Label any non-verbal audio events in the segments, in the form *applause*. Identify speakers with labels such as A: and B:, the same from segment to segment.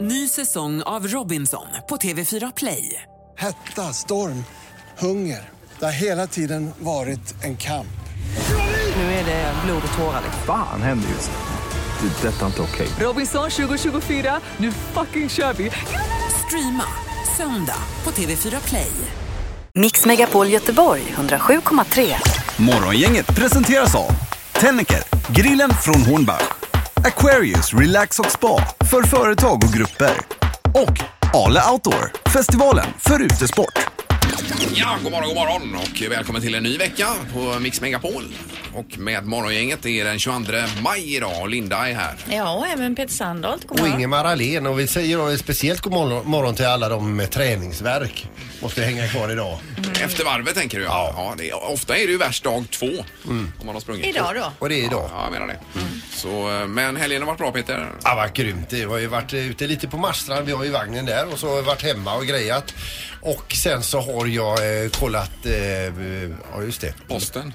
A: Ny säsong av Robinson på TV4 Play.
B: Hetta, storm, hunger. Det har hela tiden varit en kamp.
A: Nu är det blod och tårar.
C: Fan händer just nu. Det. är Detta är inte okej.
A: Robinson 2024, nu fucking kör vi! Streama söndag på TV4 Play.
D: Mix Megapol Göteborg 107,3.
E: Morgongänget presenteras av Tennecker, grillen från Hornbach. Aquarius Relax och Spa för företag och grupper. Och Ale Outdoor, festivalen för utesport.
F: Ja, god morgon, god morgon och välkommen till en ny vecka på Mix Megapol. Och med Morgongänget är den 22 maj idag och Linda är här.
G: Ja, och även Peter Sandholt. God
H: Och
G: morgon.
H: Ingemar Ahlén och vi säger då speciellt god morgon, morgon till alla de med träningsverk. Måste hänga kvar idag.
G: Mm.
F: Efter varvet tänker du ja. ja det är, ofta är det ju värst dag två om man har sprungit.
G: Mm. Idag då?
H: Och det är idag. Mm.
F: Ja, jag menar det. Så, eh, men helgen har varit bra Peter.
H: Ja, vad grymt. Det har ju varit eh, ute lite på Marstrand. Vi har ju vagnen där och så har jag varit hemma och grejat. Och sen så har jag eh, kollat, eh, ja just det.
F: Posten.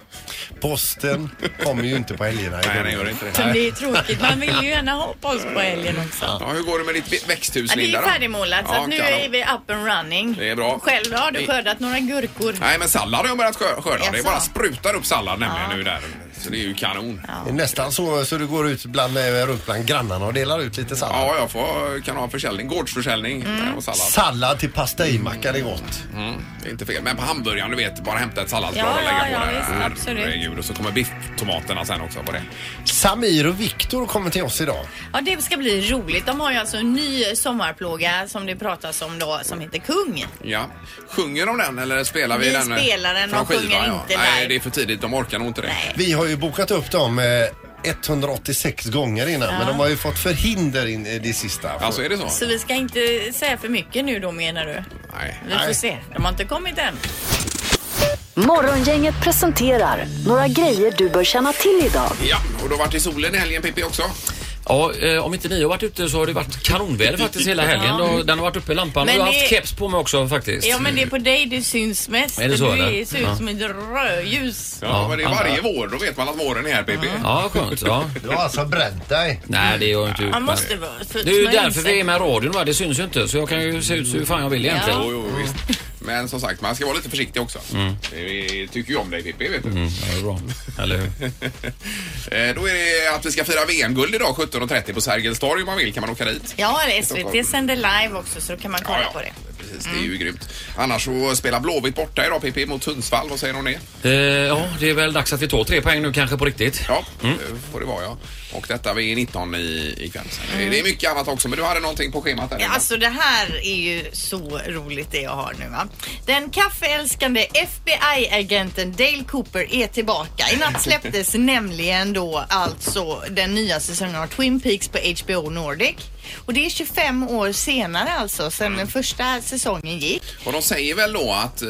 H: Posten kommer ju inte på helgerna.
F: Nej, den gör inte det.
G: Men det är tråkigt. Man vill ju gärna ha oss på helgen också.
F: Ja, hur går det med ditt vä- växthus
G: Ja, det är
F: Linda?
G: ju
F: då?
G: färdigmålat så
F: Ja,
G: att nu
F: kanon.
G: är vi up and running.
F: Det är bra.
G: Själv har du
F: Nej.
G: skördat några gurkor.
F: Nej, men sallad har jag börjat skö- skörda. Det är
G: Jaså?
F: bara sprutar upp sallad nämligen nu där. Så det är ju kanon. Ja,
H: Det är Nästan så, så du går ut bland, eh, runt bland grannarna och delar ut lite sallad.
F: jag får, kan ha försäljning, gårdsförsäljning
G: Mm.
F: eh, och sallad.
H: Sallad till pastejmacka, det är gott.
F: Mm, det är inte fel. Men på hamburgaren, du vet, bara hämta ett salladsblad
G: Ja,
F: och lägga
G: ja,
F: på
G: ja,
F: där.
G: visst,
F: Mm,
G: absolut.
F: Herregud. Och så kommer bifftomaterna sen också på det.
H: Samir och Viktor kommer till oss idag.
G: Ja, det ska bli roligt. De har ju alltså en ny sommarplåga som det pratas om då som heter Kung.
F: Ja. Sjunger de den eller spelar vi,
G: Vi
F: den? eh,
G: spelar den
F: från
G: och sjunger
F: skivan,
G: inte live.
F: Nej, det är för tidigt. De orkar nog inte det.
G: Nej.
H: Vi har ju bokat upp dem eh, 186 gånger innan men de har ju fått förhinder in i det sista.
F: Alltså, är det så?
G: Så vi ska inte säga för mycket nu då menar du?
F: Nej.
G: Vi får se. De har inte kommit än.
D: Morgongänget presenterar några grejer du bör känna till idag.
F: Ja, och då vart det solen i helgen Pippi också.
I: Ja, eh, om inte ni har varit ute så har det varit kanonväder faktiskt hela helgen. Då, den har varit uppe i lampan
G: Men
I: och jag har
G: det-
I: haft keps på mig också faktiskt.
G: Ja, men det är på dig det syns mest.
I: Är det så,
G: du
I: eller?
G: ser ut som ett rödljus.
F: Ja,
I: Ja,
F: men det är
I: andra.
F: varje vår. Då vet man att våren är här Pippi.
I: Ja, skönt. Ja.
H: *laughs* Du har alltså bränt dig.
I: Nej, det gör jag inte. ut
G: Man
I: med.
G: måste vara för
I: Det är ju
G: smörja in
I: därför
G: sig.
I: vi är med i radion va? Det syns ju inte. Så jag kan ju se ut så hur fan jag vill egentligen.
F: Jo, jo, visst. Men som sagt, man ska vara lite försiktig också. Vi tycker ju om dig Pippi, vet du.
I: Mm, ja, det är bra. Eller hur?
F: *laughs* Eh, Då är det att vi ska fira VM-guld idag 17.30 på Sergels torg om man vill kan man åka dit.
G: Ja, det är SVT sänder live också så då kan man kolla på det.
F: Precis, det är ju grymt. Annars så spelar Blåvitt borta idag Pippi mot Sundsvall. Vad säger du om det?
I: Eh, ja, det är väl dags att vi tar tre poäng nu kanske på riktigt. Mm.
F: Ja, det får det vara ja. Och detta vid 19 i, ikväll. sen. Det är mycket annat också men du hade någonting på schemat där.
G: Mm. Ja,
F: Linda.
G: Alltså det här är ju så roligt det jag har nu va. Den kaffeälskande FBI-agenten Dale Cooper är tillbaka. I natt släpptes nämligen då alltså den nya säsongen av Twin Peaks på HBO Nordic. Och det är 25 år senare alltså sedan den första säsongen gick.
F: Och de säger väl då att eh,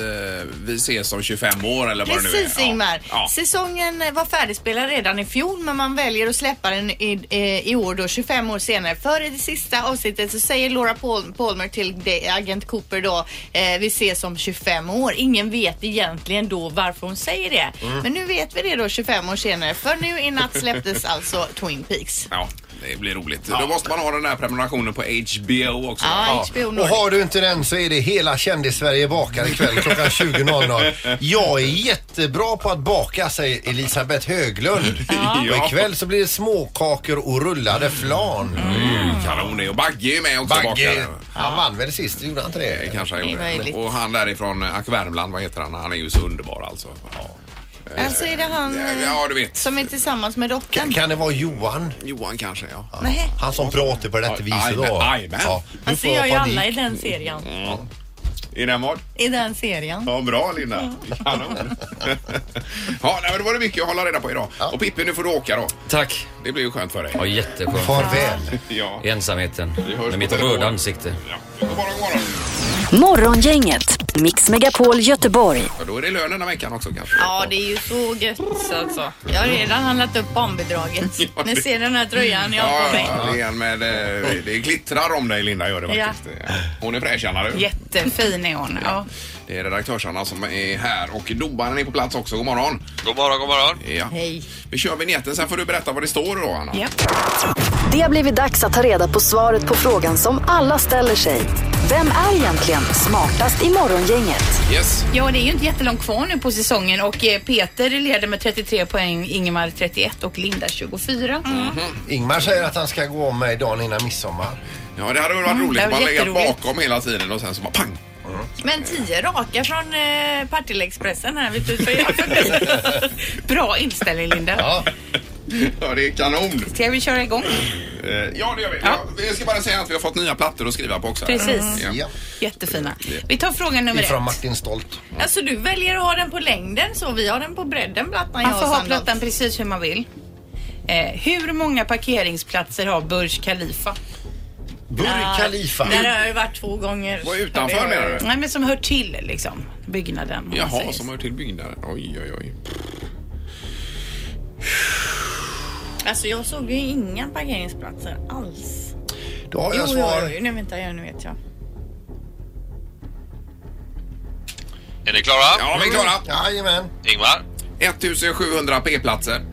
F: vi ses om 25 år eller vad det nu är.
G: Precis
F: Ja.
G: Ingmar.
F: Ja.
G: Säsongen eh, var färdigspelad redan i fjol men man väljer att släppa den i, eh, i år då 25 år senare. För i det sista avsnittet så säger Laura Pal- Palmer till de- agent Cooper då eh, vi ses om 25 år. Ingen vet egentligen då varför hon säger det.
F: Mm.
G: Men nu vet vi det då 25 år senare för nu i natt släpptes
F: *laughs*
G: alltså Twin Peaks.
F: Ja, det blir roligt. Då måste man ha den här prenumerationen på HBO också.
G: Ja, HBO
H: Och
G: Nordic.
H: har du inte den så är det hela kändis-Sverige bakar ikväll
F: *laughs*
H: klockan 20.00. Jag är jättebra på att baka, säger Elisabeth Höglund.
F: *laughs*
H: Och ikväll så blir det småkakor och rullade flan.
F: Mm, Kanon det. Och Bagge är ju med också.
H: Bagge,
F: bakaren.
H: han vann väl sist, gjorde han inte
F: Det
H: det?
F: kanske han
G: Det är
F: gjorde.
G: möjligt.
F: Och han därifrån eh, Ack Värmland, vad heter han? Han är ju så underbar alltså. Ja,
G: Alltså är det han eh,
F: ja du vet.
G: som är tillsammans med dottern?
H: Kan det vara Johan?
F: Johan kanske, ja.
G: Nej.
H: Han som pratar på detta viset då.
F: Aj, men.
H: nu
G: Han
H: får jag
G: ser ju alla
H: panik.
G: i den serien.
F: Är den vad?
G: I den serien.
F: Ja, bra Linda.
H: *laughs*
F: Kanon. ja, nej, men då var det mycket att hålla reda på idag. Och Pippi, nu får du åka då.
I: Tack.
F: Det blir ju skönt för dig.
I: Ja, jätteskönt.
H: Farväl.
F: Ja.
I: I ensamheten.
F: hörs på
I: Med mitt
F: telefon.
I: röda ansikte.
F: ja. God morgon, god morgon.
D: Morgongänget, Mix Megapol Göteborg.
F: Ja, då är det lön den här veckan också kanske.
G: Ja, det är ju så gött alltså. Jag har redan handlat upp barnbidraget.
F: *laughs* Ja, det-
G: Ni ser den här tröjan jag har
F: Ja,
G: på mig.
F: ja, det är en med, eh, det glittrar om dig Linda gör det faktiskt. Hon är fräsch Anna du.
G: Jättefin är hon. Ja.
F: Det är redaktörsarna som är här och domaren är på plats också. God morgon!
J: God morgon, god morgon.
F: Ja.
K: Hej.
F: Vi kör vignetten, sen får du berätta vad det står då, Anna.
K: Ja.
D: Det har blivit dags att ta reda på svaret på frågan som alla ställer sig. Vem är egentligen smartast i Morgongänget?
F: Yes.
K: Ja, det är ju inte jättelångt kvar nu på säsongen och eh, Peter leder med 33 poäng, Ingemar 31 och Linda 24.
H: Ingmar säger att han ska gå om mig dagen innan midsommar.
F: Ja, det hade väl varit roligt
K: det
F: om man
K: var
F: legat
K: Mm. jätteroligt.
F: bakom hela tiden och sen så bara pang!
K: Men 10 raka från eh, Partille-Expressen här. Vet du, så är jag
F: *laughs*
K: förbi. Bra inställning Linda.
H: *laughs* Ja.
F: Ja, det är kanon!
K: Ska vi köra igång?
F: Eh, Ja, det gör vi. Ja.
K: Ja.
F: vi ska bara säga att vi har fått nya plattor att skriva på också.
K: Precis.
F: Ja.
H: ja.
K: Jättefina. Vi tar fråga nummer
H: Ifrån
K: ett.
H: Martin Stolt.
K: Alltså du väljer att ha den på längden så vi har den på bredden plattan Man får ha plattan precis hur man vill. Eh, hur många parkeringsplatser har Burj Khalifa?
H: Burj Khalifa.
K: har jag varit två gånger.
F: Var utanför, menar du?
K: Nej men som hör till liksom byggnaden. om man säger
F: Jaha,
K: så.
F: som hör till byggnaden. Oj, oj, oj.
G: Alltså jag såg ju inga parkeringsplatser alls.
H: Då har jag
G: Oj, oj,
H: svar.
G: oj, nu väntar jag, nu vet jag.
J: Är ni klara?
F: Ja, vi är klara.
H: Mm. Jajamän.
J: Ingmar
F: 1700 p-platser.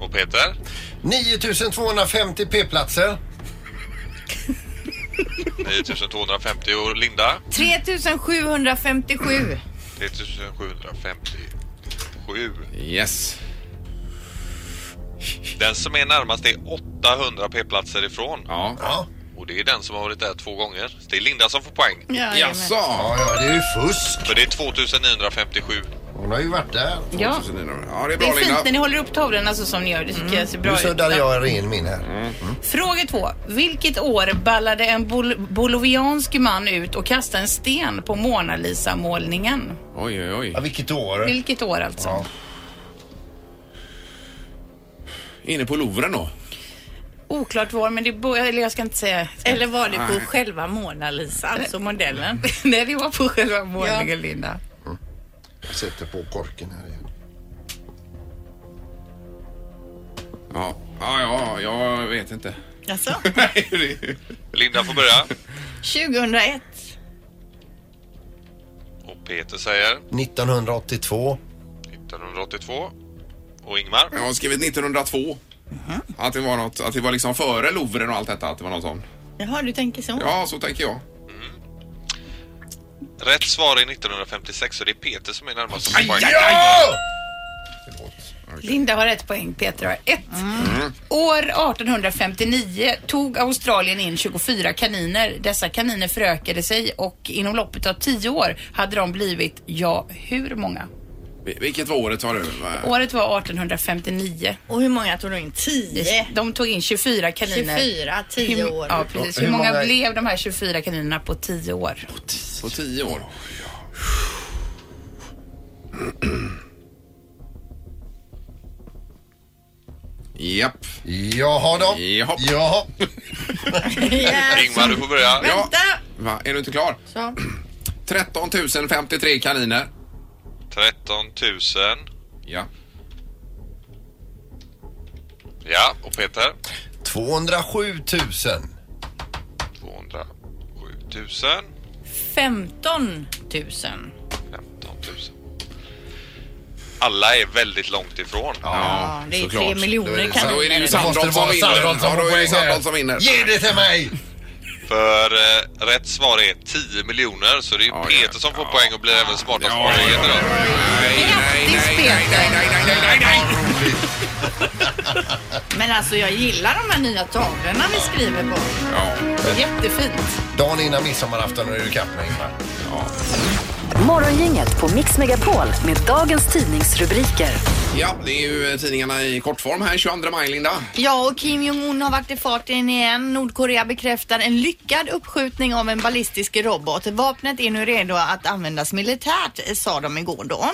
J: och Peter.
H: 9250 p-platser.
J: 9250 och Linda.
G: 3757.
J: 3757.
F: Yes.
J: Den som är närmast är 800 p-platser ifrån.
F: Ja.
H: Ja.
J: Och det är den som har varit där två gånger. Så det är Linda som får poäng.
F: Jaså?
H: Ja, ja, det är ju fusk.
J: För det är 2957.
H: Hon har ju varit där.
K: Ja.
F: Ja, det är
K: Det
F: bra
K: är fint
F: Linda. Mm.
K: när ni håller upp tavlan alltså, som ni gör. Det tycker jag ser bra
H: Nu
K: ut.
H: suddade jag ren min här. Mm.
K: Fråga två. Vilket år ballade en bol- boliviansk man ut och kastade en sten på Mona Lisa-målningen?
F: Oj, oj,
H: Ja,
F: oj.
H: vilket år.
K: Vilket år alltså?
H: Ja.
F: Inne på Louvren då?
K: Oklart var, men det bo- eller jag ska inte säga.
G: Eller var det på själva Mona Lisa, alltså modellen?
K: *laughs* Nej, det var på själva målningen, Linda.
H: Jag sätter på korken här igen.
F: Ja. Ja, ja, jag vet inte.
G: Alltså,
F: Nej, det-
J: *laughs* Linda får börja.
G: 2001.
J: Och Peter säger
H: 1982.
J: 1982. Och Ingmar.
F: jag har skrivit 1902. Att det var något, att det var liksom före Louvren och allt detta, att det var något sånt.
G: Jaha, du tänker så?
F: Ja, så tänker jag.
J: Rätt svar är 1956 så det är Peter som är närmast som får
F: Aj,
J: poäng.
F: aj, aj!
K: Linda har ett poäng, Peter har ett.
H: Mm.
K: År 1859 tog Australien in 24 kaniner. Dessa kaniner förökade sig och inom loppet av 10 år hade de blivit, ja, hur många?
F: Vil- Vilket var året sa du?
K: Året var 1859.
G: Och hur många tog du in? 10?
K: De tog in 24 kaniner.
G: 24, 10
K: Hur-
G: år.
K: Ja, precis. Hur,
H: Hur
K: många
H: många-
K: blev de här 24 kaninerna på 10 år?
F: På tio år? Japp.
H: Jaha då.
F: Jaha.
H: Jaha.
G: Yes.
J: Ingmar du får börja.
F: Ja.
G: Vänta!
F: Va, är du inte klar? *clears throat*
G: Så.
F: 13 053 kaniner.
J: 13 000.
F: Ja.
J: Ja, och Peter?
H: 207 000.
J: 207 000.
G: 15 000.
J: 15 000. Alla är väldigt långt ifrån.
G: Ja, det är
F: såklart.
G: 3 miljoner
F: Så då är det ju
G: kaniner.
H: Måste det
F: Sandholt som
H: vara
F: vinner.
H: Sandholt som
F: Ja, då
H: får
F: är det
H: poäng här?
F: Sandholt som vinner.
H: Ge det till mig!
J: För eh, rätt svar är 10 miljoner så det är
F: Ja, ja.
J: Peter som får poäng och blir även smartast på morgonen idag.
F: Nej, nej,
K: Grattis,
F: nej, nej, nej, nej, nej, nej, nej, nej.
G: Men alltså jag gillar de här nya tavlorna vi skriver på.
F: Ja,
K: Jättefint.
H: Dagen innan midsommarafton är du kapp med Ingmar.
D: Morgongänget på Mix Megapol med dagens tidningsrubriker.
F: ja, det är ju eh, tidningarna i kortform här 22 maj, Linda.
G: Ja, och Kim Jong-Un har varit i farten igen. Nordkorea bekräftar en lyckad uppskjutning av en ballistisk robot. Vapnet är nu redo att användas militärt, eh, sa de igår då.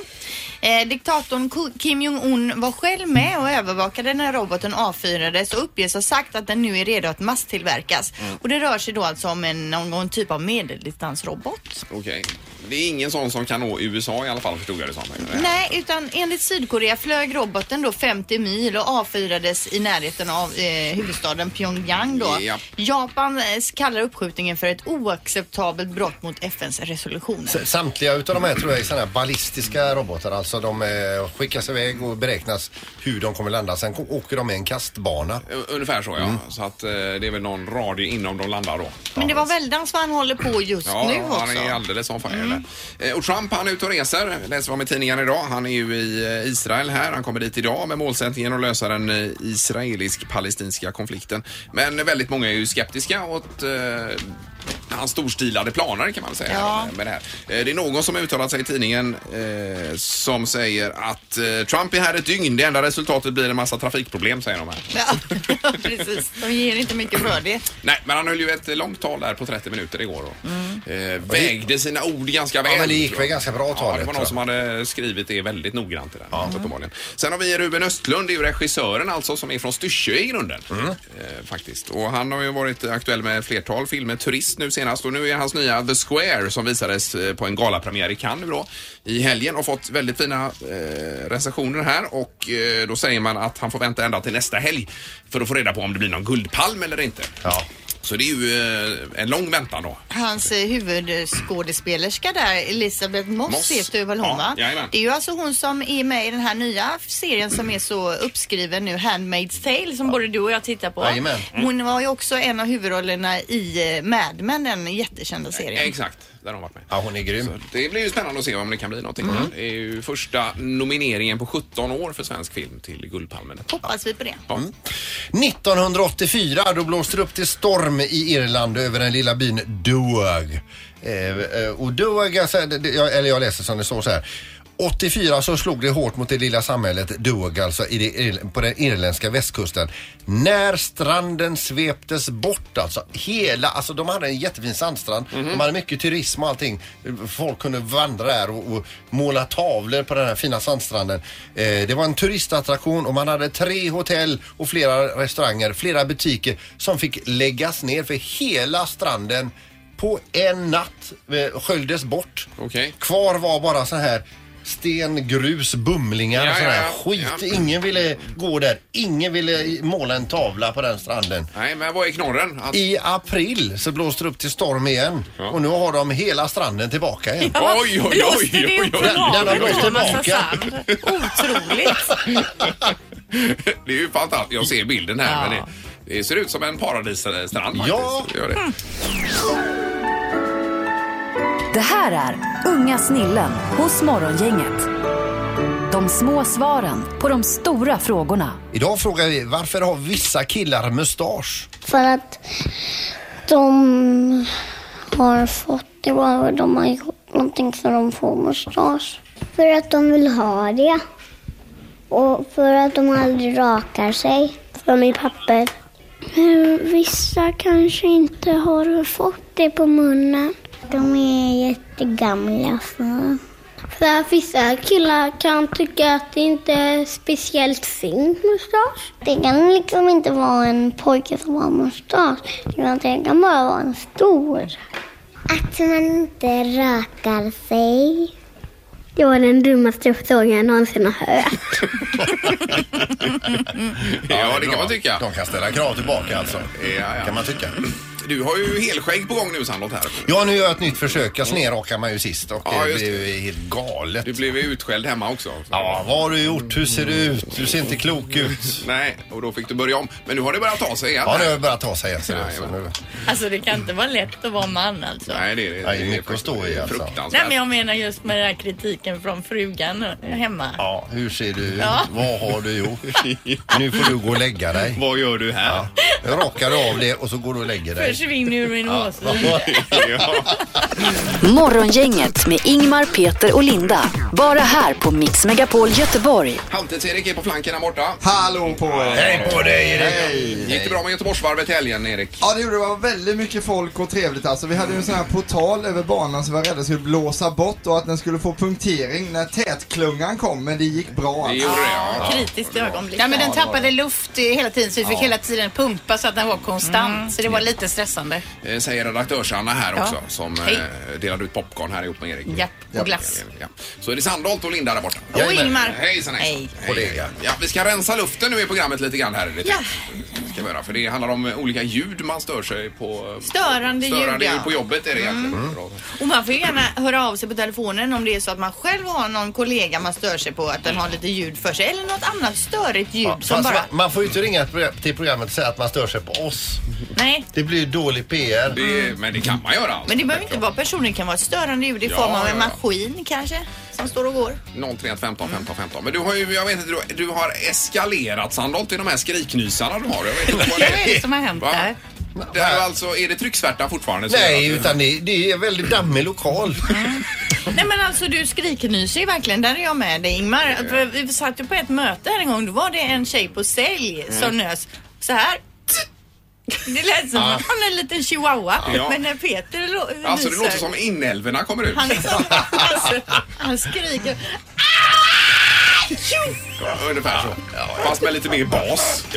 G: Eh, diktatorn Ko- Kim Jong-Un var själv med och övervakade när roboten avfyrades och uppges ha sagt att den nu är redo att masstillverkas. Och det rör sig då alltså om en, någon typ av medeldistansrobot.
F: Okej. Det är ingen sån som kan nå USA i alla fall förstod jag det som.
G: Nej, utan enligt Sydkorea flög roboten då 50 mil och avfyrades i närheten av eh, huvudstaden Pyongyang då.
F: Ja.
G: Japan eh, kallar uppskjutningen för ett oacceptabelt brott mot FNs resolutioner.
H: S- Samtliga utav de här tror jag är sådana här ballistiska robotar. Alltså de eh, skickas iväg och beräknas hur de kommer landa. Sen ko- åker de med en kastbana.
F: U- Eh, Ungefär så
H: Mm.
F: ja. Så att eh, det är väl någon radie innan de landar då.
G: Men det var väldans vad han håller på just
F: alltså. Ja,
G: nu också. Mm.
F: han är alldeles on fire. där. Eh, Och Trump han är ute och reser. Läser vi om i tidningen idag. Han är ju i eh, Israel här. Han kommer dit idag med målsättningen att lösa den eh, israelisk-palestinska konflikten. Men väldigt många är ju skeptiska åt eh, hans storstilade planer kan man säga.
G: Ja.
F: Med det, här. Eh, det är någon som har uttalat sig i tidningen eh, som säger att eh, Trump är här ett dygn. Det enda resultatet blir en massa trafikproblem säger de här.
G: Ja, *laughs* precis. De ger inte mycket för det.
F: Nej, men han höll ju ett långt tal där på 30 minuter igår och eh, vägde sina ord ganska väl.
H: Ja, men det gick
F: tror
H: väl
F: jag.
H: ganska bra
F: Ja, det
H: talet. tror
F: var någon
H: jag.
F: som hade skrivit det väldigt noggrant i den. Uppenbarligen. Sen har vi Ruben Östlund, det är ju regissören alltså som är från Styrsö i grunden. Eh, faktiskt. Och han har ju varit aktuell med flertal filmer, Turist nu senast och nu är hans nya The Square som visades eh, på en galapremiär i Cannes nu då i helgen och fått väldigt fina eh, recensioner här och eh, då säger man att han får vänta ända till nästa helg för att få reda på om det blir någon guldpalm eller inte.
H: Ja.
F: Så det är ju eh, en lång väntan då.
G: Hans eh, huvudskådespelerska där, Elisabeth Moss,
F: Moss.
G: heter du väl hon
F: Ja,
G: va?
F: jajamän.
G: Det är ju alltså hon som är med i den här nya serien som är så uppskriven nu, Handmaid's Tale, som både du och jag tittar på.
H: Jajamän.
G: Hon var ju också en av huvudrollerna i eh, Mad Men, den jättekända
F: Eh,
G: serien.
F: Exakt, där har de varit med.
H: Ja, hon är grym. Mm.
F: Det blir ju spännande att se om det kan bli någonting. Det är ju första nomineringen på 17 år för svensk film till Guldpalmen.
G: Hoppas vi på det.
F: Ja.
H: 1984 Mm. då blåste det upp till storm i Irland över den lilla byn Doag. Eh, eh, och Doag, alltså, det- det- jag- eller jag läser som det står så här. 84 så slog det hårt mot det lilla samhället Doag, alltså i det, irl- på den irländska västkusten. När stranden sveptes bort alltså. Hela, alltså de hade en jättefin sandstrand. De hade mycket turism och allting. Folk kunde vandra där och, och måla tavlor på den här fina sandstranden. Eh, det var en turistattraktion och man hade tre hotell och flera restauranger, flera butiker som fick läggas ner för hela stranden på en natt eh, sköljdes bort.
F: Okej.
H: Kvar var bara så här sten, grus, bumlingar
F: Ja,
H: och sån här
F: ja, ja.
H: skit.
F: Ja.
H: Ingen ville gå där. Ingen ville måla en tavla på den stranden.
F: Nej, men vad är knorren? Att...
H: I april så blåste det upp till storm igen
F: Ja.
H: och nu har de hela stranden tillbaka igen.
F: Oj, oj, oj, oj, oj, oj,
H: Den- den har blåst tillbaka.
G: Otroligt!
F: *laughs* Det är ju fantastiskt. Jag ser bilden här.
G: Ja.
F: Men det, det ser ut som en paradisstrand
H: Ja.
F: faktiskt. Det Gör det.
D: Det här är Unga snillen hos Morgongänget. De små svaren på de stora frågorna.
H: Idag frågar vi varför har vissa killar mustasch?
L: För att de har fått det och de har gjort någonting så de får mustasch. För att de vill ha det. Och för att de aldrig rakar sig. För de är papper. Men vissa kanske inte har fått det på munnen. De är jättegamla. Så. För att vissa killar kan tycka att det inte är speciellt fint mustasch. Det kan liksom inte vara en pojke som har mustasch. utan Det kan bara vara en stor. Att man inte rökar sig. Det var den dummaste frågan jag någonsin har hört.
F: Ja, det kan man tycka.
H: De kan ställa krav tillbaka alltså.
F: Ja, ja.
H: Kan man tycka.
F: Du har ju helskägg på gång nu Sandholt här.
H: Ja, nu gör jag ett nytt försök. Jag snerrakade mig ju sist och
F: Ja,
H: det
F: just
H: blev ju helt galet.
F: Du blev ju utskälld hemma också.
H: Ja, vad har du gjort? Hur ser du ut? Du ser inte klok ut.
F: Nej, och då fick du börja om. Men nu har det börjat ta sig igen.
H: Ja, nu har jag börjat ta sig igen. ser det ut som.
F: Jajamän.
L: Alltså det kan inte vara lätt att vara man alltså.
F: Nej, det är det.
H: det är mycket att stå i, alltså.
F: fruktansvärt.
L: Nej men jag menar just med den här kritiken från frugan hemma.
H: Ja, hur ser du ut?
L: Ja.
H: Vad har du
F: *laughs*
H: gjort? Nu får du gå och lägga dig.
F: Vad gör du här?
H: Jag rakar av det och så går du och lägger dig.
L: Försvinn ur min åsyn.
F: *laughs* Ja.
D: Morgongänget med Ingmar, Peter och Linda. Bara här på Mix Megapol Göteborg.
F: Halvtids-Erik är på flanken där borta.
M: Hallå på er!
H: Hej på dig Erik!
F: Gick det bra med Göteborgsvarvet i helgen, Erik?
M: Ja det gjorde det, det var väldigt mycket folk och trevligt alltså. Vi hade ju en sån här portal över banan som vi var rädda skulle blåsa bort och att den skulle få punktering när tätklungan kom men det gick bra
F: Det
M: alltså.
F: gjorde det, ja.
L: Kritiskt ögonblick.
M: men den tappade
G: Mm.
L: luft hela tiden så vi fick hela tiden pumpa så att den var konstant. Så det var lite stressigt.
G: stressande.
F: Eh, Säger redaktörs-Anna här
G: Ja.
F: också som eh,
G: Hej.
F: delade ut popcorn här ihop med Erik.
G: Japp, och
F: Ja.
G: glass.
F: Ja. Så är det Sandholt och Linda där borta.
G: Och Ingmar.
F: Hejsan, hejsan.
G: Hej.
F: Kollega. Ja, vi ska rensa luften nu i programmet lite grann här. Lite.
G: Ja.
F: Ska vi göra, för det handlar om eh, olika ljud man stör sig på.
G: Störande ljud,
F: Störande ljud
G: ja. Mm.
F: på jobbet är det egentligen.
H: Mm.
F: Bra.
G: Och man får gärna höra av sig på telefonen om det är så att man själv har någon kollega man stör sig på att den har lite ljud för sig eller något annat störigt ljud som
H: Fast
G: bara...
H: man, man får ju inte ringa pro- till programmet och säga att man stör sig på oss.
G: Nej.
H: Det blir ju dålig PR.
F: Men det kan man göra.
G: Men det behöver inte vara personer, det kan vara ett störande ljud i
F: Ja,
G: form av en
F: ja, ja.
G: maskin kanske som står och går.
F: 031 15 15 15. Men du har ju, jag vet inte, du, du har eskalerat Sandholt i de här skriknysarna du har. Jag vet inte vad
G: *laughs*
F: det
G: Vad är det som har hänt
F: Va?
G: där?
F: Det är, ju alltså, är det trycksvärta fortfarande? som
H: Nej,
F: gör att du-
H: utan det, det är en väldigt dammig
F: *laughs*
H: lokal.
G: Nej men alltså du skriknyser ju verkligen, där är jag med dig Ingmar. Att vi- Vi satt ju på ett möte här en gång, då var det en tjej på sälj
F: Mm.
G: som nös så här. Det lät som
F: Ja.
G: att han är en liten chihuahua.
F: Ja.
G: Men när Peter lo-
F: Alltså det
G: nyser-
F: låter som inälvorna kommer ut. *laughs*
G: Han, som, alltså, han skriker. "Ah!" Tjo!
F: Ja, ungefär så. Fast med lite mer bas. *laughs*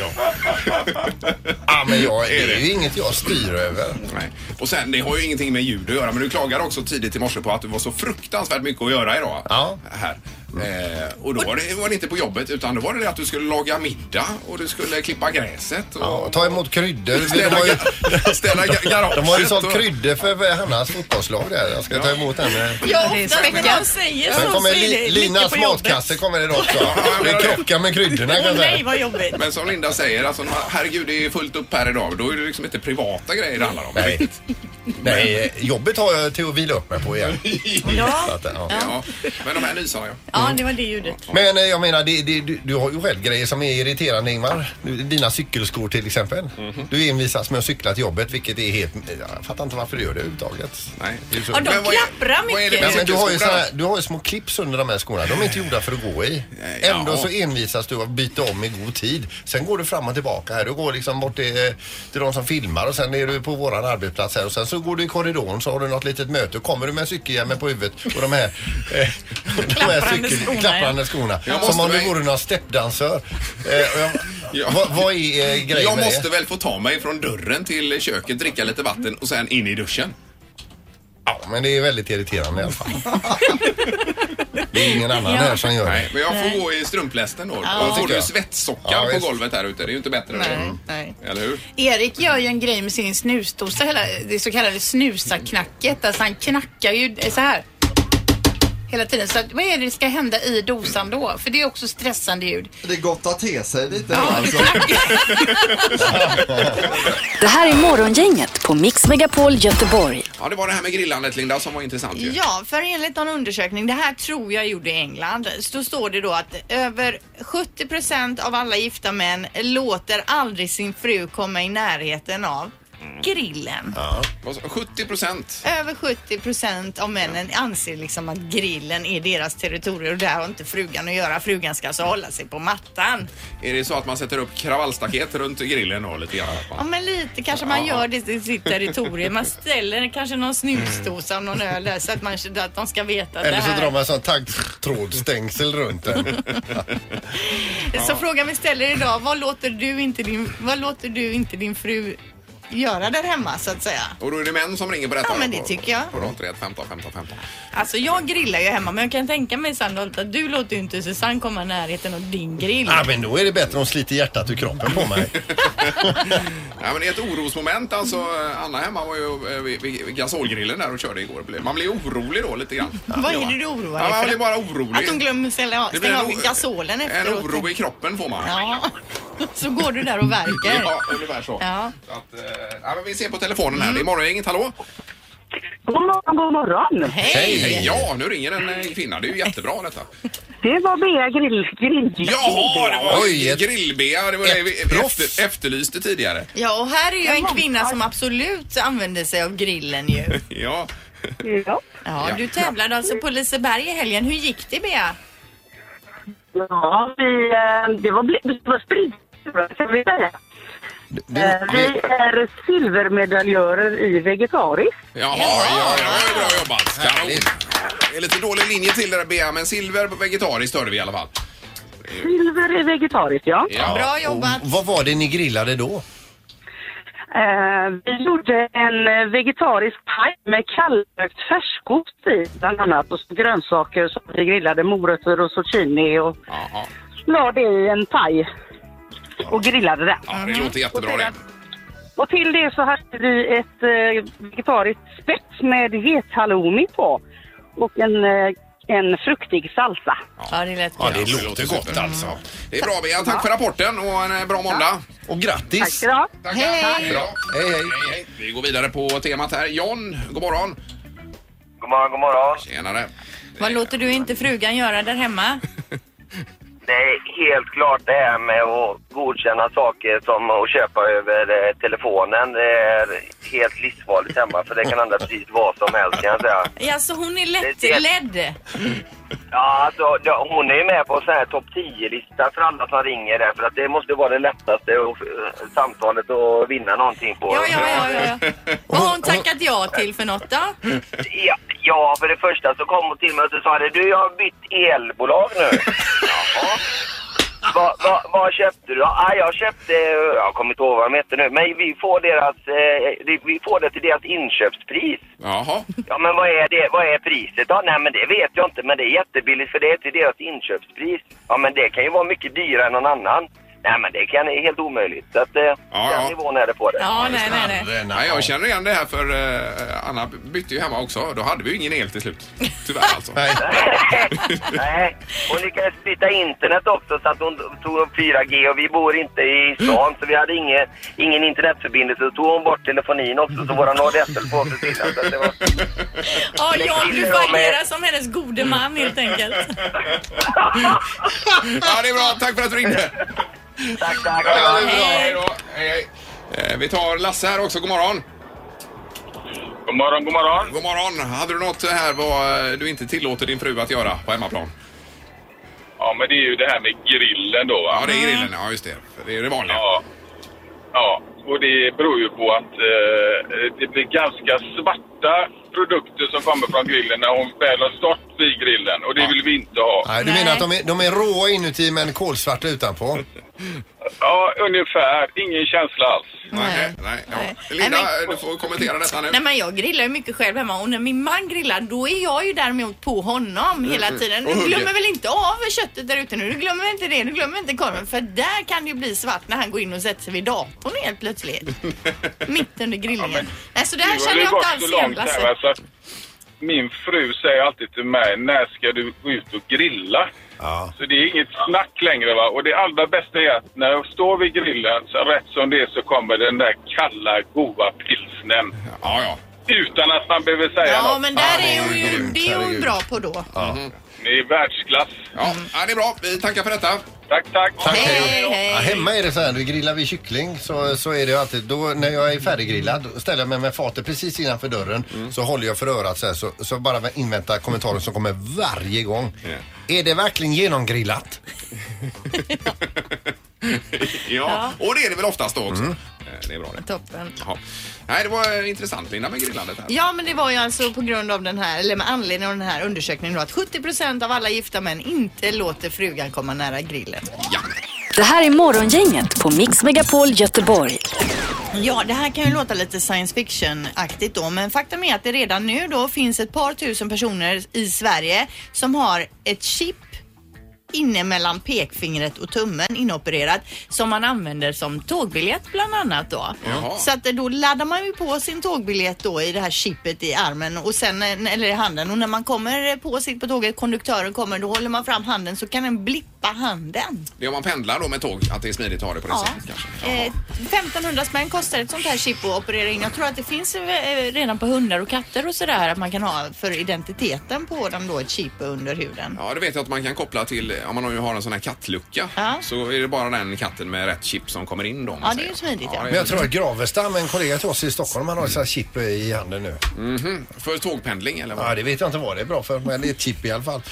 H: Ja, men jag, det
F: Är det?
H: är ju inget jag styr över.
F: Nej. Och sen, det har ju ingenting med ljud att göra, men du klagade också tidigt i morse på att det var så fruktansvärt mycket att göra idag.
H: Ja.
F: Här.
H: Mm.
F: Eh, och då var det, var det inte på jobbet, utan då var det det att du skulle laga middag och du skulle klippa gräset. Och,
H: Ja, ta emot kryddor. De
F: Städa,
H: har ju,
F: ga- städa ga-
H: *laughs*
F: garaget.
H: de har ju sålt
F: och-
H: kryddor för Hannas fotbollslag där. Jag ska ta emot henne.
G: Ja, ofta när de säger
H: Sen
G: så så
H: kommer
G: är
H: li,
G: det mycket
H: Linas
G: på jobbet.
H: matkasse kommer idag också.
F: *laughs* Ja,
H: Det
F: men-
H: krockar med kryddorna kan
G: *laughs* Åh
H: jag
G: nej
H: säga.
G: vad jobbigt.
F: Men som Linda säger, alltså, herregud det är fullt upp här idag. Då är det liksom inte privata grejer det handlar om.
H: Nej. Nej, Eh, jobbet har jag till att vila upp mig på igen. Så
G: Ja.
H: att, ja.
F: Ja. Men de här nysarna ja.
G: ja, det var det ljudet.
H: Men eh, jag menar, det, det, du, du har ju själv grejer som är irriterande Ingmar. Du- Dina cykelskor till exempel. Du envisas med att cykla till jobbet vilket är helt... Jag fattar inte varför du gör det överhuvudtaget.
F: Nej.
H: Det är ju så-
G: Ja, de
F: Men vad är-
G: klapprar
F: vad är det
G: mycket.
F: med
H: Nej, men du, har ju
F: cykelskolan?
H: såna, du har ju små clips under de här skorna. De är inte gjorda för att gå i.
F: Nej, ja.
H: Ändå så envisas du att byta om i god tid. Sen går du fram och tillbaka här. Du går liksom bort till, till de som filmar och sen är du på våran arbetsplats här. Och sen så går du i korridoren så har du något litet möte. Och kommer du med cykelhjälmen på huvudet och de här, eh, *laughs* de här
G: Klapprande skorna, ja.
H: klapprande skorna.
F: Jag
H: Som
F: måste
H: om du
F: väl-
H: vore någon steppdansör. Eh, och jag,
F: Ja.
H: vad, vad är eh, grejen
F: Jag
H: med
F: måste
H: det?
F: väl få ta mig från dörren till köket, dricka lite vatten och sen in i duschen.
H: Ja, men det är väldigt irriterande i alla fall. Det är ingen annan här som gör det.
F: Nej, men jag får gå i strumplästen då. Då får
H: tycker
F: du
H: jag.
F: svettsockan
H: Ja,
F: på
H: visst.
F: golvet här ute. Det är ju inte bättre.
G: Nej, nej.
F: Eller hur?
G: Erik gör ju en grej med sin snusdosa, hela det så kallade snusarknacket. Alltså han knackar ju så här hela tiden. Så att, vad är det ska hända i dosan då? För det är också stressande ljud.
M: Det gottar till sig lite. alltså.
D: Det här är Morgongänget på Mix Megapol Göteborg.
F: Ja, det var det här med grillandet Linda som var intressant ju.
G: Ja, för enligt någon undersökning, det här tror jag gjorde i England, så står det då att över 70 procent av alla gifta män låter aldrig sin fru komma i närheten av grillen.
F: Vad sa- 70 procent.
G: Över 70 procent av männen anser liksom att grillen är deras territorium och där har inte frugan att göra. Frugan ska alltså hålla sig på mattan.
F: Är det så att man sätter upp kravallstaket runt grillen då lite grann? Att
G: Ja
F: man-
G: men lite kanske man
F: Ja.
G: gör det till sitt territorium. Man ställer kanske någon snusdosa och någon öl där så att, man, att de ska veta att det
H: Eller så
G: här...
H: drar man sån taggtrådstängsel runt den.
G: *laughs* Så frågan vi ställer idag, vad låter du inte din, vad låter du inte din fru göra där hemma så att säga?
F: Och då är det män som ringer på detta?
G: Ja,
F: då,
G: men det
F: på-
G: tycker jag.
F: På 031 15 15 15.
G: Alltså jag grillar ju hemma men jag kan tänka mig Sandholt att du låter ju inte Susanne komma i närheten av din grill.
H: Ja, men då är det bättre om hon sliter hjärtat ur kroppen på mig.
F: Ja, men det är ett orosmoment. Alltså, Anna hemma var ju eh, vid, vid, vid gasolgrillen där och körde igår. Blev- Man blir orolig då lite grann.
G: *laughs* Vad är det du oroar dig
F: Ja, man
G: för?
F: blir bara orolig.
G: Att hon glömmer ställa,
F: Det blir
G: stänga
F: en
G: av
F: o-
G: gasolen efteråt.
F: En oro i kroppen får man.
G: Ja. *laughs* Så går du där och värker.
F: Ja, ungefär så.
G: Ja. Mm.
F: så att, eh, ja, men vi ser på telefonen här. Det är morgongänget, hallå?
N: God morgon, god morgon.
F: Hej! Ja, nu ringer en eh, kvinna. Det är ju jättebra detta.
N: Det var Bea Grill... grill
F: Jaha, det var
H: Oj, ett-
F: grill-Bea. Det var det vi
H: ett proffs.
F: efter, efterlyste tidigare.
G: Ja och här är ju en kvinna som absolut använder sig av grillen ju.
F: Ja.
N: Ja.
G: Ja,
F: Ja.
G: du tävlade alltså på Liseberg i helgen. Hur gick det Bea?
N: ja, vi... eh, Det var, bli- det var sprid, ska vi säga. Eh, Vi är silvermedaljörer i vegetariskt.
F: Jaha, ja, ja, det var bra jobbat. Kanon. Det är lite dålig linje till det där Bea, men silver på vegetariskt hörde vi i alla fall.
N: Silver i vegetariskt, ja.
F: Ja.
G: Bra jobbat.
H: Och vad var det ni grillade då?
N: Eh, vi gjorde en eh, vegetarisk paj med kallrökt färskost i bland annat och så grönsaker som vi grillade, morötter och zucchini och la det i en paj och grillade den.
F: Ja,
H: Mm.
F: det låter jättebra det.
N: Och till det så hade vi ett eh, vegetariskt spett med gethalloumi på och en, eh, en fruktig salsa.
G: Ja, det lät
H: Ja, det låter gott alltså.
F: Det är bra Bea, tack för rapporten och en eh, bra måndag.
H: Och grattis!
F: Tack,
G: Hej.
F: Hej. Bra. Hej, hej. hej. Vi går vidare på temat här. John, god morgon.
O: God morgon, god morgon.
F: Tjenare.
G: Vad låter du inte frugan göra där hemma?
O: Det är helt klart det här med att godkänna saker som att köpa över eh, telefonen. Det är helt livsfarligt hemma för det kan hända precis vad som helst kan jag säga.
G: Alltså hon är lättledd.
O: Ja, alltså, ja, hon är ju med på en sån här topp 10-lista för alla som ringer där för att det måste vara det lättaste och, eh, samtalet att vinna någonting på.
G: Ja, ja, ja, ja, ja. Vad har hon tackat ja till för något då?
O: Ja, ja, för det första så kom hon till mig och sa det, du jag har bytt elbolag nu. Jaha. Vad va, vad köpte du? Ah, jag köpte, jag kommer inte ihåg vad de hette nu, men vi får, deras, eh, det- vi får det till deras inköpspris.
F: Jaha.
O: Ja men vad är det, vad är priset då? Nej men det vet jag inte, men det är jättebilligt för det är till deras inköpspris. Ja men det kan ju vara mycket dyrare än någon annan. Nej men det kan, det är helt omöjligt. Så att eh, den nivån är det på det.
G: Ja, nej, nej, nej.
F: Nej, jag känner igen det här för eh, Anna bytte ju hemma också. Då hade vi ju ingen el till slut. Tyvärr alltså.
O: Nej, hon lyckades byta internet också så att hon tog upp 4G och vi bor inte i stan så vi hade ingen, ingen internetförbindelse. Så tog hon bort telefonin också så våran ADSL-telefon försvinner. Så att det var...
G: Ja, John, du får agera som hennes gode man helt enkelt.
F: ja, det är bra. Tack för att du ringde.
O: Tack, tack.
F: Ja, det är bra. Hej då. Hej, hej. Eh, Vi tar Lasse här också. God morgon.
P: God morgon, god morgon.
F: God morgon. Hade du något här vad eh, du inte tillåter din fru att göra på hemmaplan?
P: Ja, men det är ju det här med grillen då. Va?
F: Ja, det är grillen. Ja, just det. För Det är det vanliga.
P: Ja. ja, och det beror ju på att eh, det blir ganska svarta produkter som kommer från grillen när hon väl har stått vid grillen och det vill vi inte ha.
H: Nej, du menar att de är, de är råa inuti men kolsvarta utanpå?
P: Ja, ungefär. Ingen känsla alls.
F: Nej, nej. Ja. Linda, du får kommentera detta nu.
G: Nej men jag grillar ju mycket själv hemma och när min man grillar då är jag ju däremot på honom hela
F: Mm,
G: tiden.
F: och
G: Du
F: hugger.
G: glömmer väl inte av köttet där ute nu? Du glömmer inte det? Du glömmer inte korven? För där kan det ju bli svart när han går in och sätter sig vid datorn helt
F: *laughs*
G: plötsligt. Mitt under grillningen. Nej så det
P: Nu
G: här
P: har
G: känner
P: det
G: jag
P: gått
G: inte alls
P: så
G: igen alltså.
P: långt här, va,
G: Lasse.
P: så att Min fru säger alltid till mig, när ska du gå ut och grilla? Så det är inget snack längre va. Och det allra bästa är att när jag står vid grillen, så rätt som det är så kommer den där kalla, goa pilsnen.
F: Ja, ja.
P: Utan att man behöver säga
G: Ja
P: något.
G: men där är hon ju, det är hon bra på då.
P: Mm. Ni är världsklass.
F: Ja, ja, det är bra. Vi tackar för detta.
P: Tack, tack.
G: Mm. Hej,
H: Ja,
G: hej.
H: hemma är det så här, du grillar vi kyckling så, så är det ju alltid, då, när jag är färdiggrillad då ställer jag mig med fatet precis innanför dörren
G: Mm.
H: så håller jag för örat så här så, så bara inväntar kommentarer som kommer varje gång. Är det verkligen genomgrillat?
F: Ja, och det är det väl oftast då
G: Mm.
F: också. Eh, Det är bra det.
G: Toppen.
F: Ja. Nej, det var eh, intressant Linda med grillandet här.
G: Ja men det var ju alltså på grund av den här, eller med anledning av den här undersökningen då att 70% av alla gifta män inte låter frugan komma nära grillen.
D: Det här är Morgongänget på Mix Megapol Göteborg.
G: Ja, det här kan ju låta lite science fiction-aktigt då, men faktum är att det redan nu då finns ett par tusen personer i Sverige som har ett chip inne mellan pekfingret och tummen inopererat som man använder som tågbiljett bland annat då.
Q: Jaha.
G: Så att eh, då laddar man ju på sin tågbiljett då i det här chipet i armen och sen, eh, eller i handen och när man kommer på sitt på tåget, konduktören kommer, då håller man fram handen så kan den blippa handen.
F: Det är om man pendlar då med tåg, att det är smidigt att ha det på det
G: Ja.
F: sättet kanske.
G: Eh, 1500 spänn kostar ett sånt här chip att operera in. Jag tror att det finns eh, redan på hundar och katter och sådär att man kan ha för identiteten på dem då ett chip under huden.
F: Ja, det vet jag att man kan koppla till, eh, om man ju har en sån här kattlucka, så är det bara den katten med rätt chip som kommer in då. om man
G: Ja, det är
F: säger.
G: ju smidigt ja.
H: Men jag tror att Gravestam, en kollega till oss i Stockholm, han har ett sånt här chip i handen nu.
F: Mhm. För tågpendling eller vad?
H: Ja, det vet jag inte vad det är bra för, men det är ett chip i alla fall.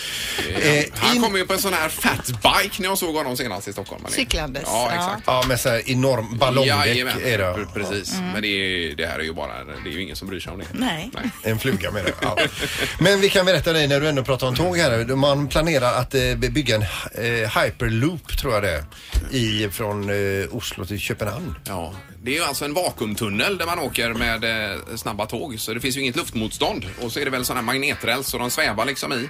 F: Eh, Han kom ju på en sån här fatbike när jag såg honom senast i Stockholm. eller?
G: Cyklandes.
F: Ja, exakt.
H: Ja, med så här enorm ballongdäck
F: Jajamän,
H: är det. Mm.
F: Precis,
H: Ja.
F: men det, är, det här är ju bara, det är ju ingen som bryr sig om det.
G: Nej.
H: En fluga med det. Ja. Men vi kan berätta dig när du ändå pratar om tåg här. Man planerar att eh, bygga en eh, hyperloop tror jag det är. I, från eh, Oslo till Köpenhamn.
F: Ja, *laughs* Det är ju alltså en vakuumtunnel där man åker med eh, snabba tåg så det finns ju inget luftmotstånd. Och så är det väl sådana här magneträls så de svävar liksom i.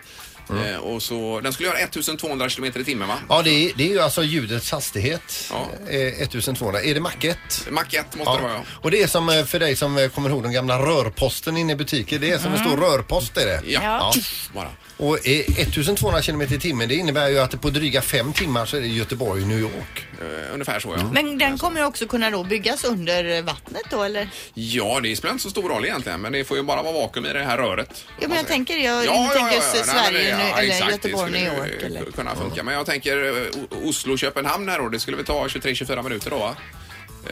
H: Mm.
F: Eh, och så, den skulle göra 1200 km i timmen va?
H: Ja, det är, det är ju alltså ljudets hastighet. Eh, 1200. Är det Mac 1?
F: Mac 1 måste det vara ja.
H: Och det är som eh, för dig som eh, kommer ihåg den gamla rörposten inne i butiker. Det är som en
F: Mm.
H: stor rörpost är det.
F: Ja. Ja. Bara.
H: Och eh, 1200 km i timmen det innebär ju att det på dryga fem timmar så är det Göteborg, New York.
F: Eh,
H: Mm.
F: ungefär så ja.
G: Men den kommer också kunna då byggas under vattnet då eller?
F: Ja, det spelar inte så stor roll egentligen men det får ju bara vara vakuum i det här röret.
G: Jo men jag tänker, jag
F: Ja, ja,
G: tänker
F: ja, ja.
G: s-
F: Nej, men
G: Sverige
F: det- ja,
G: nu, eller
F: exakt, det
G: Göteborg,
F: skulle
G: New
F: ju
G: York eller?
F: kunna funka. Men jag tänker eh, O- Oslo-Köpenhamn här då. Det skulle väl ta 23-24 minuter då va?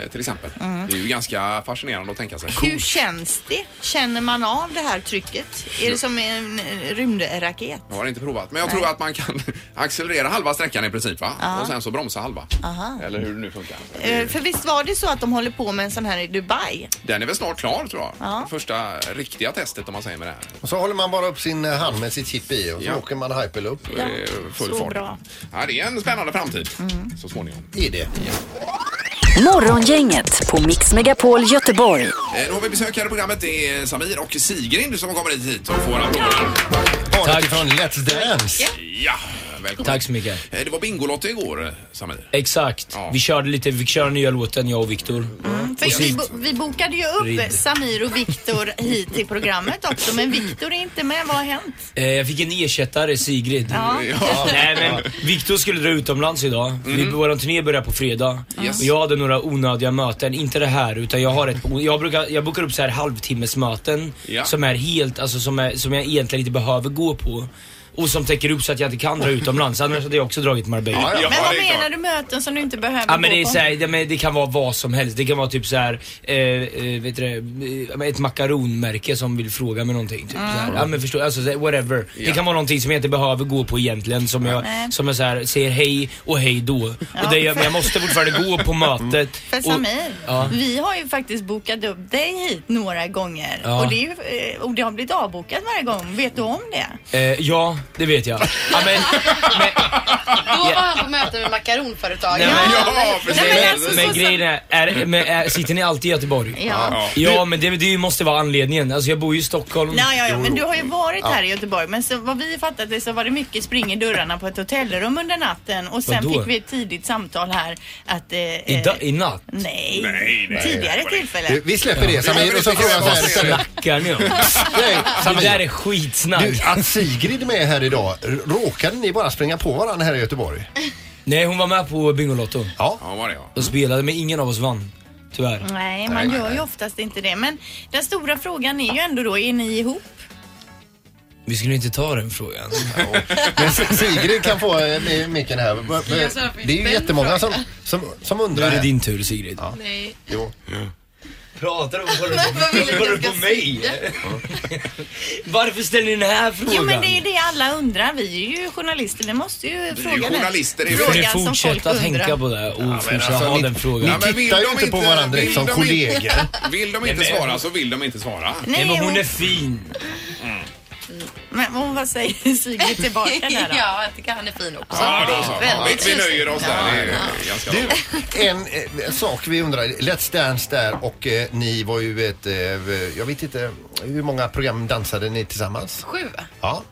F: Eh, Till exempel.
G: Mm.
F: Det är ju ganska fascinerande att tänka sig.
G: Hur känns det? Känner man av det här trycket? Är det som en eh, rymdraket?
F: Jag har inte provat, men jag tror att man kan *laughs* accelerera halva sträckan i princip va?
G: Ja.
F: Och sen så bromsa halva.
G: Aha.
F: Eller hur det nu funkar.
G: Eh, För visst var det så att de håller på med en sån här i Dubai?
F: Den är väl snart klar tror jag.
G: Ja.
F: Första riktiga testet om man säger med det här.
H: Och så håller man bara upp sin eh, hand med sitt chip i och så
F: Ja.
H: åker man hyperloop.
F: Det är Full fart. Ja, det är en spännande framtid
G: Mm.
F: så småningom.
H: Det är det.
D: Morgongänget på Mix Megapol Göteborg.
F: Eh, Då har vi besökare i programmet. Det är Samir och Sigrid som har kommit hit och får applåder.
H: Tack från Let's Dance.
F: Ja, välkommen.
Q: Tack så mycket.
F: Eh, Det var Bingolotto igår, eh, Samir.
Q: Exakt. Vi körde lite, vi körde nya låten jag och Viktor.
F: Mm.
G: För vi, bo- vi bokade ju upp
Q: Rid.
G: Samir och Viktor hit till programmet också men Viktor är inte med. Vad har hänt?
Q: Eh, jag fick en ersättare, Sigrid.
G: Ja. Ja.
Q: Nej, men Viktor skulle dra utomlands idag. Vi, vår turné börjar på fredag.
F: Mm. Yes.
Q: Och jag hade några onödiga möten. Inte det här, utan jag har ett... Jag, brukar, jag bokar upp så här halvtimmesmöten
F: Ja.
Q: som är helt, alltså som, är, som jag egentligen inte behöver gå på. Och som täcker upp så att jag inte kan dra utomlands. Annars hade jag också dragit Marbella.
G: men vad menar du möten som du inte behöver
Q: Ja men
G: gå
Q: det, är
G: på?
Q: så här, det, men det kan vara vad som helst. Det kan vara typ så här, eh, eh, vet du, det, eh, ett makaronmärke som vill fråga mig någonting. Typ,
G: Mm.
Q: så här. Ja men förstår, alltså så här, whatever. Det
F: Ja.
Q: kan vara någonting som jag inte behöver gå på egentligen. Som jag,
G: Nej.
Q: som jag så här, säger hej och hej då.
G: Ja. Mm.
Q: Och det, jag, men jag måste fortfarande gå på mötet.
G: För
Q: och,
G: Samir,
Q: Ja.
G: vi har ju faktiskt bokat upp dig hit några gånger
Q: Ja.
G: och, det är ju, eh, och det har blivit avbokat varje gång. Vet du om det?
Q: Eh, ja, det vet jag. Ja, men,
R: Då var han på möte med makaronföretaget.
Q: Nej, men-
R: Ja,
G: alltså,
Q: men, men grejen är, är, men är, sitter ni alltid i Göteborg?
G: Ja.
Q: Ja, men det, det måste vara anledningen. Alltså jag bor ju i Stockholm.
G: Nej, ja, ja, men du har ju varit
Q: Ja.
G: här i Göteborg. Men så, vad vi fattat det så var det mycket spring i dörrarna på ett hotellrum under natten och sen
Q: Vadå?
G: fick vi ett tidigt samtal här att... Eh,
Q: I,
G: eh,
Q: da, I natt?
G: Nej. Nej, nej. Tidigare
Q: *laughs*
G: tillfälle.
H: Vi- Vi släpper det Samir och så frågar jag så här istället.
Q: Snackar ni om?
H: Nej, Samir.
Q: Det där är skitsnack.
H: Du, att Sigrid är med här idag, r- råkade ni bara springa på varandra här i Göteborg?
Q: *laughs* Nej, hon var med på Bingolotto.
H: Ja.
F: ja var det, ja.
Q: Och spelade, men ingen av oss vann. Tyvärr.
G: Nej, man
Q: Nej, nej,
G: gör ju
Q: nej.
G: oftast inte det. Men den stora frågan är ju ändå då, är ni ihop?
Q: Vi skulle inte ta den frågan.
H: Men S- Sigrid kan få eh, mi- micken här. B- b- Det är ju jättemånga som, som, som undrar.
Q: Nu är det din tur Sigrid.
R: Nej.
H: Jo.
Q: Pratar hon på,
R: Men vad vill du
Q: på,
R: att jag
Q: på,
R: ska
Q: på mig? Varför ställer ni den här frågan?
G: Jo, men det är det alla undrar. Vi är ju journalister. Ni måste ju
Q: ju
G: fråga den
Q: journalister, det är
G: frågan
Q: vi.
G: som
Q: Fortsätt
G: folk
Q: att
G: undrar.
Q: tänka på det och fortsätta
H: alltså,
Q: ha
H: ni-
Q: den frågan.
H: ni Ja, men vill tittar ju de inte på inte- varandra vill liksom de kollegor. inte-
F: *laughs* Vill de inte svara så vill de inte svara.
G: Nej, men hon är
Q: fin.
G: Men hon, vad säger *laughs* Sigrid tillbaka där då?
R: *laughs* Ja, jag tycker han är fin också.
F: Ja, då så.
R: Väldigt
F: Vi nöjer oss där. Det är ganska bra.
H: Du, en eh, sak vi undrar. Let's Dance där och eh, ni var ju ett, eh, jag vet inte, hur många program dansade ni tillsammans?
R: Sju.
H: Ja.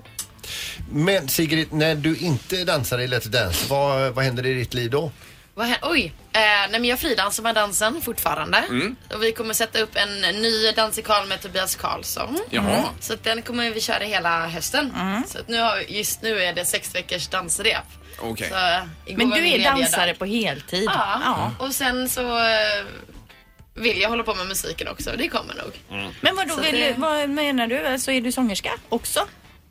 H: Men Sigrid, när du inte dansade i Let's Dance, vad, vad händer i ditt liv då?
R: Vad hä- Oj. Eh, nej, men jag fridansar med dansen fortfarande.
H: Mm.
R: Och vi kommer sätta upp en ny dansikal med Tobias Karlsson.
H: Jaha.
R: Mm. Så att den kommer vi köra hela hösten.
G: Mm.
R: Så att nu har, vi- just nu är det sex veckors dansrep.
F: Okej.
R: Så, eh, igår
G: Men
R: var
G: du
R: min
G: är
R: lediga
G: dansare
R: dag.
G: på heltid?
R: Ja. och sen så eh, vill jag hålla på med musiken också. Det kommer nog.
G: Mm. Men vadå,
R: Så
G: vill,
R: det-
G: vad menar du? Alltså är du sångerska också?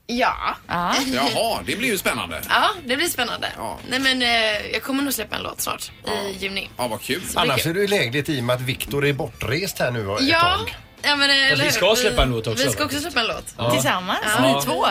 R: Ja.
G: Ja.
F: Jaha, det blir ju spännande.
R: Ja, det blir spännande. Nej men eh, jag kommer nog släppa en låt snart i juni.
F: Ja, vad kul.
R: Så det är
H: Annars
R: kul.
H: är det ju lägligt i och med att Viktor är bortrest här nu ett
R: Ja,
H: tag.
R: ja men, eh,
H: vi
R: eller hur?
H: ska släppa en låt också,
R: Vi ska också
H: faktiskt.
R: släppa en låt.
Q: Ja.
G: Tillsammans,
Q: Ja.
G: ni två?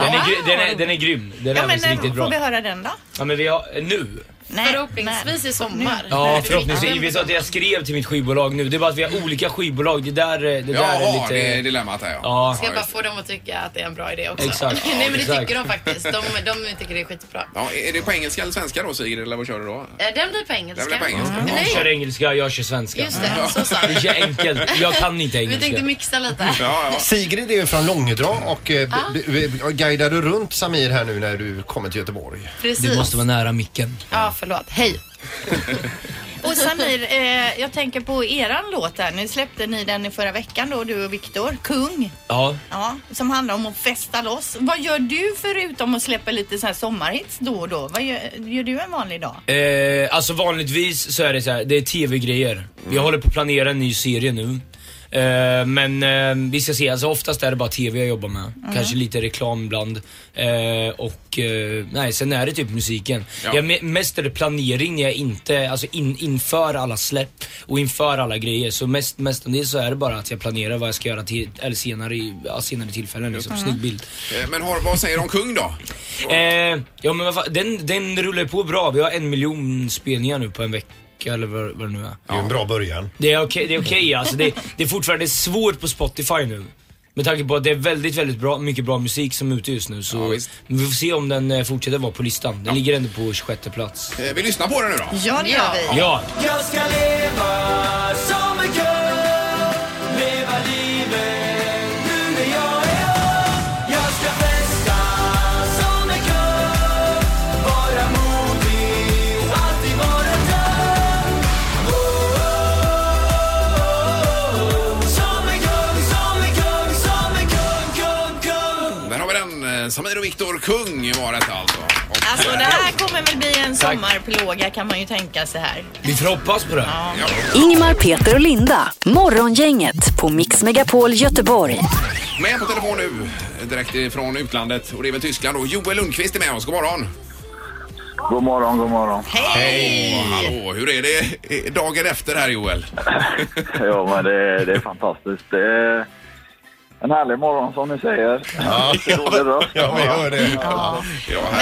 Q: Den är, gry- den, är, den är grym. Den
G: ja,
Q: är
G: men
Q: faktiskt
G: när
Q: riktigt
G: får
Q: bra.
G: vi höra den då?
Q: Ja men vi har, nu?
R: Förhoppningsvis i sommar.
Q: Ja, förhoppningsvis. att jag skrev till mitt skivbolag nu. Det är bara att vi har olika skivbolag. Det där, det där är lite...
F: det är dilemmat här
Q: ja.
R: Ska jag bara få dem att tycka att det är en bra idé också.
Q: Exakt.
R: *laughs* Nej men det
Q: Exakt.
R: tycker de faktiskt. De, de tycker det är skitbra.
F: Ja, är det på engelska eller svenska då Sigrid, eller vad kör du då?
R: Eh, Den blir på engelska.
F: Den blir på engelska.
R: Mm.
Q: Hon
R: Nej,
Q: kör engelska, jag kör svenska.
R: Just det, så sa
Q: Det är så enkelt. Jag kan inte
R: Vi
Q: engelska.
R: tänkte mixa lite.
H: *laughs* Sigrid är ju från Långedra och eh,
R: Ah.
H: b- b- b- guidar du runt Samir här nu när du kommer till Göteborg?
R: Precis. Du måste
Q: vara nära micken.
R: Ja, förlåt. Hej.
G: Och Samir, eh, jag tänker på eran låt här. Nu släppte ni den i förra veckan då, du och Viktor. Kung.
Q: Ja.
G: Ja, som handlar om att festa loss. Vad gör du förutom att släppa lite så här sommarhits då och då? Vad gör, gör du en vanlig dag?
Q: Eh, alltså vanligtvis så är det så här, det är tv-grejer.
F: Mm.
Q: Vi håller på att planera en ny serie nu. Eh, men eh, vi ska se, alltså oftast är det bara tv jag jobbar med.
F: Mm.
Q: Kanske lite reklam ibland. Eh, och eh, nej, sen är det typ musiken.
I: Ja.
Q: Jag, me- mest är det planering, jag är inte, alltså in, inför alla släpp och inför alla grejer. Så mest, mestadels så är det bara att jag planerar vad jag ska göra till, eller senare, i- ja, senare tillfällen. Liksom.
F: Mm.
Q: Snygg bild.
F: Eh, Men har, vad säger de kung då?
Q: Eh, ja men vad fan, den, den rullar ju på bra. Vi har en miljon spelningar nu på en vecka eller vad, vad det nu är.
H: Det är ju en bra början.
Q: Det är okej, det är okej alltså. Det, det är fortfarande svårt på Spotify nu. Med tanke på att det är väldigt, väldigt bra, mycket bra musik som är ute just nu. Så vi får se om den eh, fortsätter vara på listan. Den ligger ändå på 26
F: *laughs*
Q: plats.
F: Eh, Vi lyssnar på den nu då.
G: Ja, det gör vi.
Q: Ja.
A: Jag ska leva som en kung Leva livet nu när jag är ung Jag ska festa som en kung Vara modig, alltid vara tung oh, oh, oh, oh, oh. Som en kung, som en kung, som en kung, kung, kung
F: Där har vi den. eh, Samir och Viktor, kung var detta alltså. Och,
G: Alltså
F: eh,
G: det här kommer väl bli en
F: Tack.
G: sommarplåga kan man ju tänka sig här.
Q: Vi får hoppas på det.
D: Ingmar, Peter och Linda. Morgongänget på Mix Megapol Göteborg.
F: Med på telefon nu, eh, direkt från utlandet. Och det är väl Tyskland då. Joel Lundqvist är med oss. God morgon.
S: God morgon, god morgon.
F: Hej! hallå, hur är det eh, dagen efter här Joel?
S: ja, men det, det är fantastiskt. Det är en härlig morgon som ni säger. *laughs* Ja, ja vi hör det. Ja.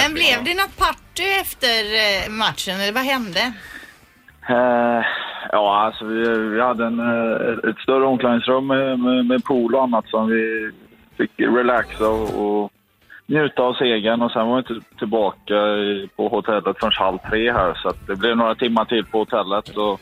G: Men blev det något party efter eh, matchen eller vad hände?
S: Eh, ja, alltså vi, vi hade en, eh, ett större omklädningsrum med, med, med pool och annat som vi fick relaxa och, och njuta av segern. Och sen var vi inte tillbaka i, på hotellet förrän halv tre här så att det blev några timmar till på hotellet och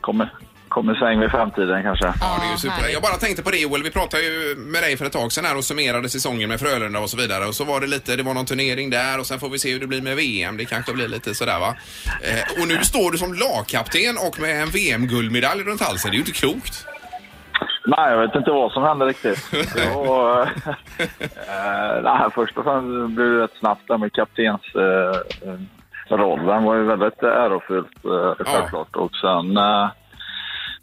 S: kommer, kommer säng vid femtiden kanske.
F: Ja, det är ju super. Jag bara tänkte på det Joel, vi pratade ju med dig för ett tag sedan här och summerade säsongen med Frölunda och så vidare. Och så var det lite, det var någon turnering där och sen får vi se hur det blir med VM. Det kanske blir lite sådär va. Eh, och nu står du som lagkapten och med en VM-guldmedalj runt halsen. Det är ju inte klokt.
S: Nej, jag vet inte vad som hände riktigt. Det var, eh, nej, först och främst blev det rätt snabbt där med kaptens... Eh, eh, rollen var ju väldigt ärofyllt eh, självklart. Och sen eh,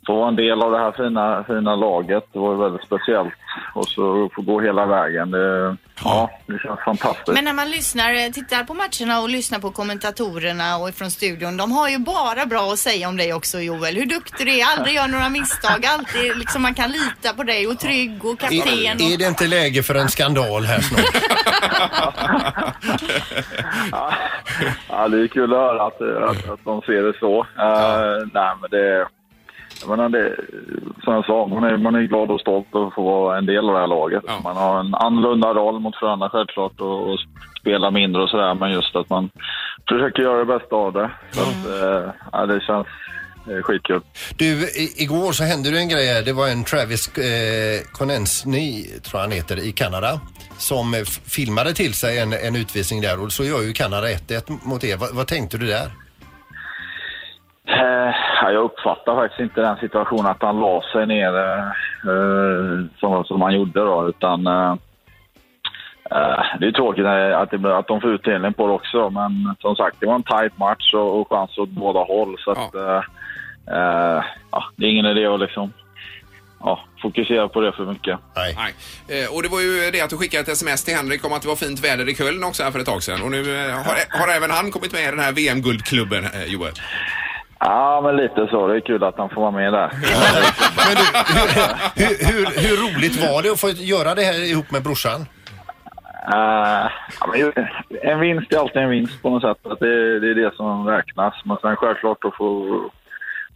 S: få vara en del av det här fina, fina laget, det var ju väldigt speciellt. Och så få gå hela vägen, det, ja, det känns fantastiskt.
G: Men när man lyssnar, eh, tittar på matcherna och lyssnar på kommentatorerna och från studion, de har ju bara bra att säga om dig också Joel. Hur duktig du är, aldrig gör några misstag, alltid liksom man kan lita på dig och trygg och kapten.
H: Är, är det inte läge för en skandal här snart? *laughs*
S: Ja, det är kul att höra att, att, att de ser det så. Eh, nej, men det, jag menar det, som jag sa, man är, man är glad och stolt att få vara en del av det här laget. Man har en annorlunda roll mot Frölunda självklart och, och spela mindre och sådär, men just att man försöker göra det bästa av det. Så att, eh, ja, det känns eh, skitkul.
H: Du, i, igår så hände det en grej här. Det var en Travis eh, Konensny, tror jag han heter, i Kanada som eh, f- filmade till sig en, en utvisning där och så gör ju Kanada 1-1 mot er. Va, vad tänkte du
R: *laughs*
H: där?
S: Eh, ja, jag uppfattar faktiskt inte den situationen att han la sig ner eh, som, som han gjorde då, utan eh, eh, det är tråkigt eh, att, det, att de får utdelning på det också, men som sagt, det var en tight match och, och chans åt båda håll, så att, eh, eh, ja, det är ingen idé att liksom, ja, fokusera på det för mycket.
F: Nej. Eh, och det var ju det att du skickade ett sms till Henrik om att det var fint väder i Köln också här för ett tag sedan. Och nu eh, har, har även han kommit med i den här VM-guldklubben eh, Joel.
S: Ja, men lite så. Det är kul att han får vara med där.
H: Hur, hur, hur roligt var det att få göra det här ihop med brorsan?
S: Eh, ja, men ju- en vinst är alltid en vinst på något sätt. Att det, det är det som räknas. Men sen självklart att få,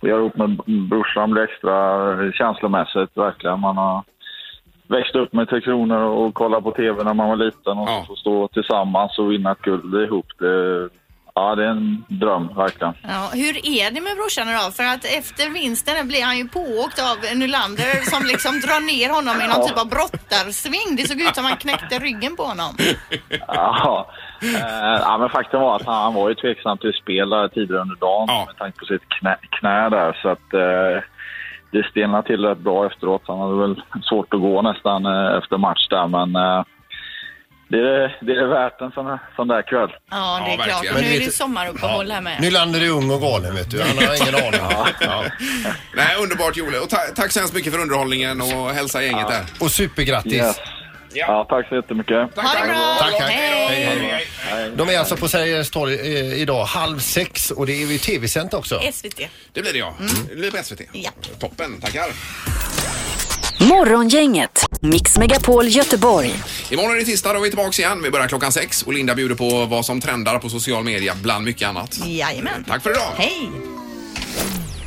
S: få göra ihop med brorsan blir extra känslomässigt verkligen. Man har växt upp med Tre Kronor och kollat på tv när man var liten och få stå tillsammans och vinna ett guld ihop. Det, ja, det är en dröm verkligen.
G: Ja, hur är det med brorsan idag? För att efter vinsten blir han ju pååkt av Nylander som liksom drar ner honom i någon
S: Ja.
G: typ av brottarsving. Det såg ut som han knäckte ryggen på honom.
S: *laughs* Ja, eh, ja, men faktum var att han, han var ju tveksam till spel där tidigare under dagen med tanke på sitt knä, knä där. Så att eh, det stelnade till rätt bra efteråt. Han hade väl svårt att gå nästan eh, efter match där, men eh, det, är, det är värt en sån, sån där kväll.
G: Ja, det är
S: Ja,
G: klart.
S: verkligen.
G: Nu
S: Men
G: är
S: vet-
G: det sommaruppehåll här med.
H: Nylander är ung och galen vet du. Han har ingen aning.
F: *laughs* Nej, underbart Jole. Och ta- tack så hemskt mycket för underhållningen och hälsa gänget där.
H: Och supergrattis.
F: Yes.
S: Ja. tack så jättemycket.
H: Ha det bra. Tack, tack.
S: Hej.
H: Hej. De är alltså på Sergels torg eh, idag halv sex och det är ju tv-sänt också.
G: SVT.
F: Det blir det ja. Det blir på SVT. Toppen, tackar.
D: Morgongänget, Mix Megapol Göteborg.
F: Imorgon är det tisdag, då är vi tillbaka igen. Vi börjar klockan sex och Linda bjuder på vad som trendar på social media bland mycket annat.
G: Jajamän.
F: Tack för idag.
G: Hej!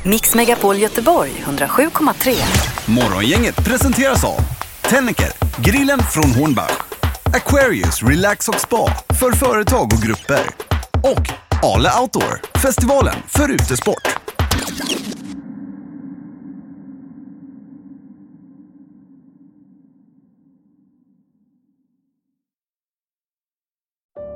D: Mix Megapol Göteborg 107,3.
E: Morgongänget presenteras av Tennicker, grillen från Hornbach, Aquarius Relax och Spa för företag och grupper och Ale Outdoor, festivalen för utesport.